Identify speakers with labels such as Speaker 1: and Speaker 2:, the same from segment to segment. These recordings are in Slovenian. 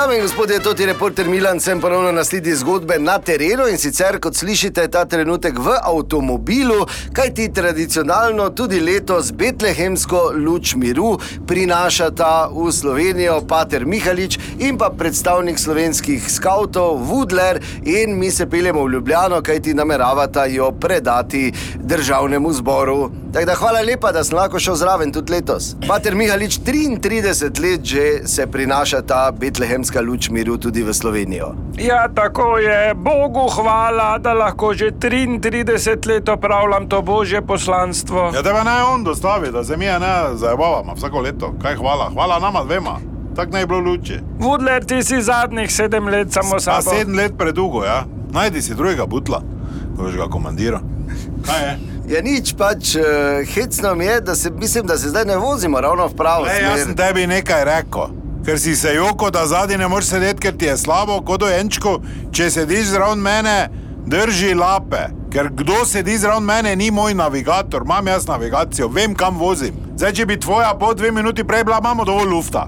Speaker 1: Dame in gospodje, to je reporter Milan, sem ponovno na sledi zgodbe na terenu in sicer, kot slišite, ta trenutek v avtomobilu, kajti tradicionalno tudi letos betlehemsko luč miru prinašata v Slovenijo Pater Mihalič in pa predstavnik slovenskih skavtov Woodler in mi se peljemo v Ljubljano, kajti nameravata jo predati državnemu zboru. Tako da hvala lepa, da sem lahko šel zraven tudi letos. Pater Mihalič, 33 let že se prinaša ta betlehemska luč miru tudi v Slovenijo.
Speaker 2: Ja, tako je. Bogu hvala, da lahko že 33 let opravljam to božje poslanstvo.
Speaker 3: Ja, tebe naj on dostavi, da se mi je ne zabavamo vsako leto. Kaj hvala, hvala nama dvema. Tako naj bi bilo v luči.
Speaker 2: Vudler, ti si zadnjih sedem let samo sam.
Speaker 3: Ta sedem let predugo, ja. Najdi si drugega butla, ko boš ga komandiral. Kaj je?
Speaker 1: Ja, nič pač uh, hecno mi je, da se, mislim, da se zdaj ne vozimo ravno v pravo
Speaker 3: Ne, jaz sem
Speaker 1: smer.
Speaker 3: tebi nekaj rekel. Ker si se joko, da zadnji ne moreš sedeti, ker ti je slabo, kot dojenčko. Če sediš zraven mene, drži lape. Ker kdo sedi zraven mene, ni moj navigator, imam jaz navigacijo, vem kam vozim. Zdaj, če bi tvoja pot dve minuti prej bila, imamo dovolj lufta.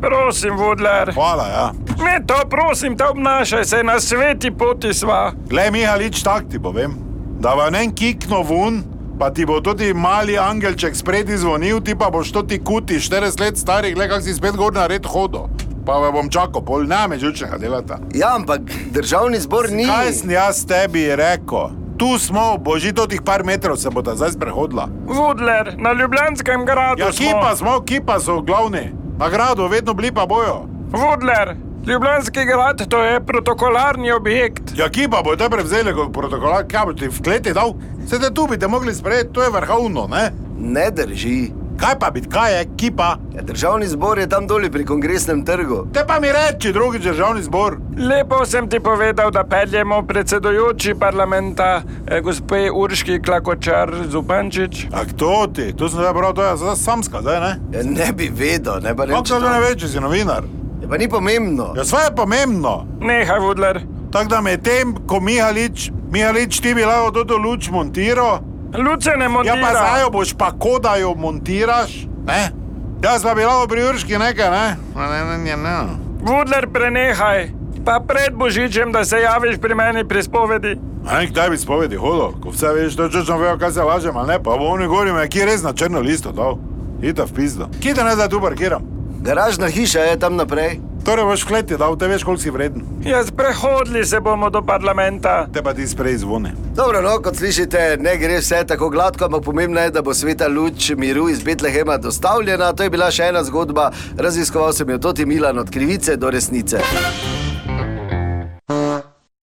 Speaker 2: Prosim, Vudler,
Speaker 3: Hvala, ja.
Speaker 2: me to prosim, te obnašaj se na sveti poti sva.
Speaker 3: Glej, Mihalič, tak ti povem. Da vam en kikno vun, pa ti bo tudi mali angelček spredi zvonil, ti pa boš to ti kuti, 40 let starih, gled, kak si spet gor na red hodo. Pa me bom čakal, pol ne me žučnega delata.
Speaker 1: Ja, ampak državni zbor ni.
Speaker 3: Kaj sem jaz tebi rekel? Tu smo, boži do tih par metrov se bo ta zdaj sprehodila.
Speaker 2: Vudler, na Ljubljanskem gradu.
Speaker 3: Ja,
Speaker 2: smo.
Speaker 3: ki pa smo, ki pa so glavni. Na gradu vedno bili pa bojo.
Speaker 2: Vudler, Ljubljanski grad to je protokolarni objekt.
Speaker 3: Ja, ki pa bojo te prevzeli kot protokolar, kaj boš ti v kleti dal? Se te tu bi te mogli sprejeti, to je vrhovno, ne?
Speaker 1: Ne drži.
Speaker 3: Kaj pa biti, kaj je, ki pa?
Speaker 1: Ja, državni zbor je tam dolje pri kongresnem trgu.
Speaker 3: Te pa mi reči, drugi državni zbor.
Speaker 2: Lepo sem ti povedal, da peljemo predsedujoči parlamenta, eh, gospe Urški Klakočar Zupančič.
Speaker 3: A kdo ti? Tu sem zdaj bral, to je zdaj samska, zdaj ne?
Speaker 1: Ja, ne bi vedel, ne pa
Speaker 3: Kako
Speaker 1: reči.
Speaker 3: se to ne ve, če si novinar?
Speaker 1: Ja, pa ni pomembno.
Speaker 3: Ja, svoje je pomembno.
Speaker 2: Nehaj, Vudler.
Speaker 3: Tako da med tem, ko Mihalič, Mihalič ti bi lahko to do luč montiral,
Speaker 2: Luce ne
Speaker 3: ja
Speaker 2: motira.
Speaker 3: pa zdaj jo boš pa koda jo montiraš, ne? Ja, Jaz pa bi lahko pri Urški nekaj, ne? Ma Ne, ne, ne, ne.
Speaker 2: Vudler, prenehaj. Pa pred božičem, da se javiš pri meni pri spovedi.
Speaker 3: A ne, kdaj bi spovedi hodil, ko vse veš, to čočno vejo, kaj se lažem, ali ne, pa bo oni govorili, ki je res na črno listo dal. Ita v pizdo. Kje te ne zdaj tu parkiram?
Speaker 1: Garažna hiša je tam naprej.
Speaker 3: Torej boš v kleti dal, te veš, koliko si vreden.
Speaker 2: Ja, sprehodili se bomo do parlamenta.
Speaker 3: Te pa ti sprej zvone.
Speaker 1: Dobro, no, kot slišite, ne gre vse tako gladko, ampak pomembno je, da bo sveta luč miru iz Betlehema dostavljena. To je bila še ena zgodba, raziskoval sem jo Toti Milan od krivice do resnice.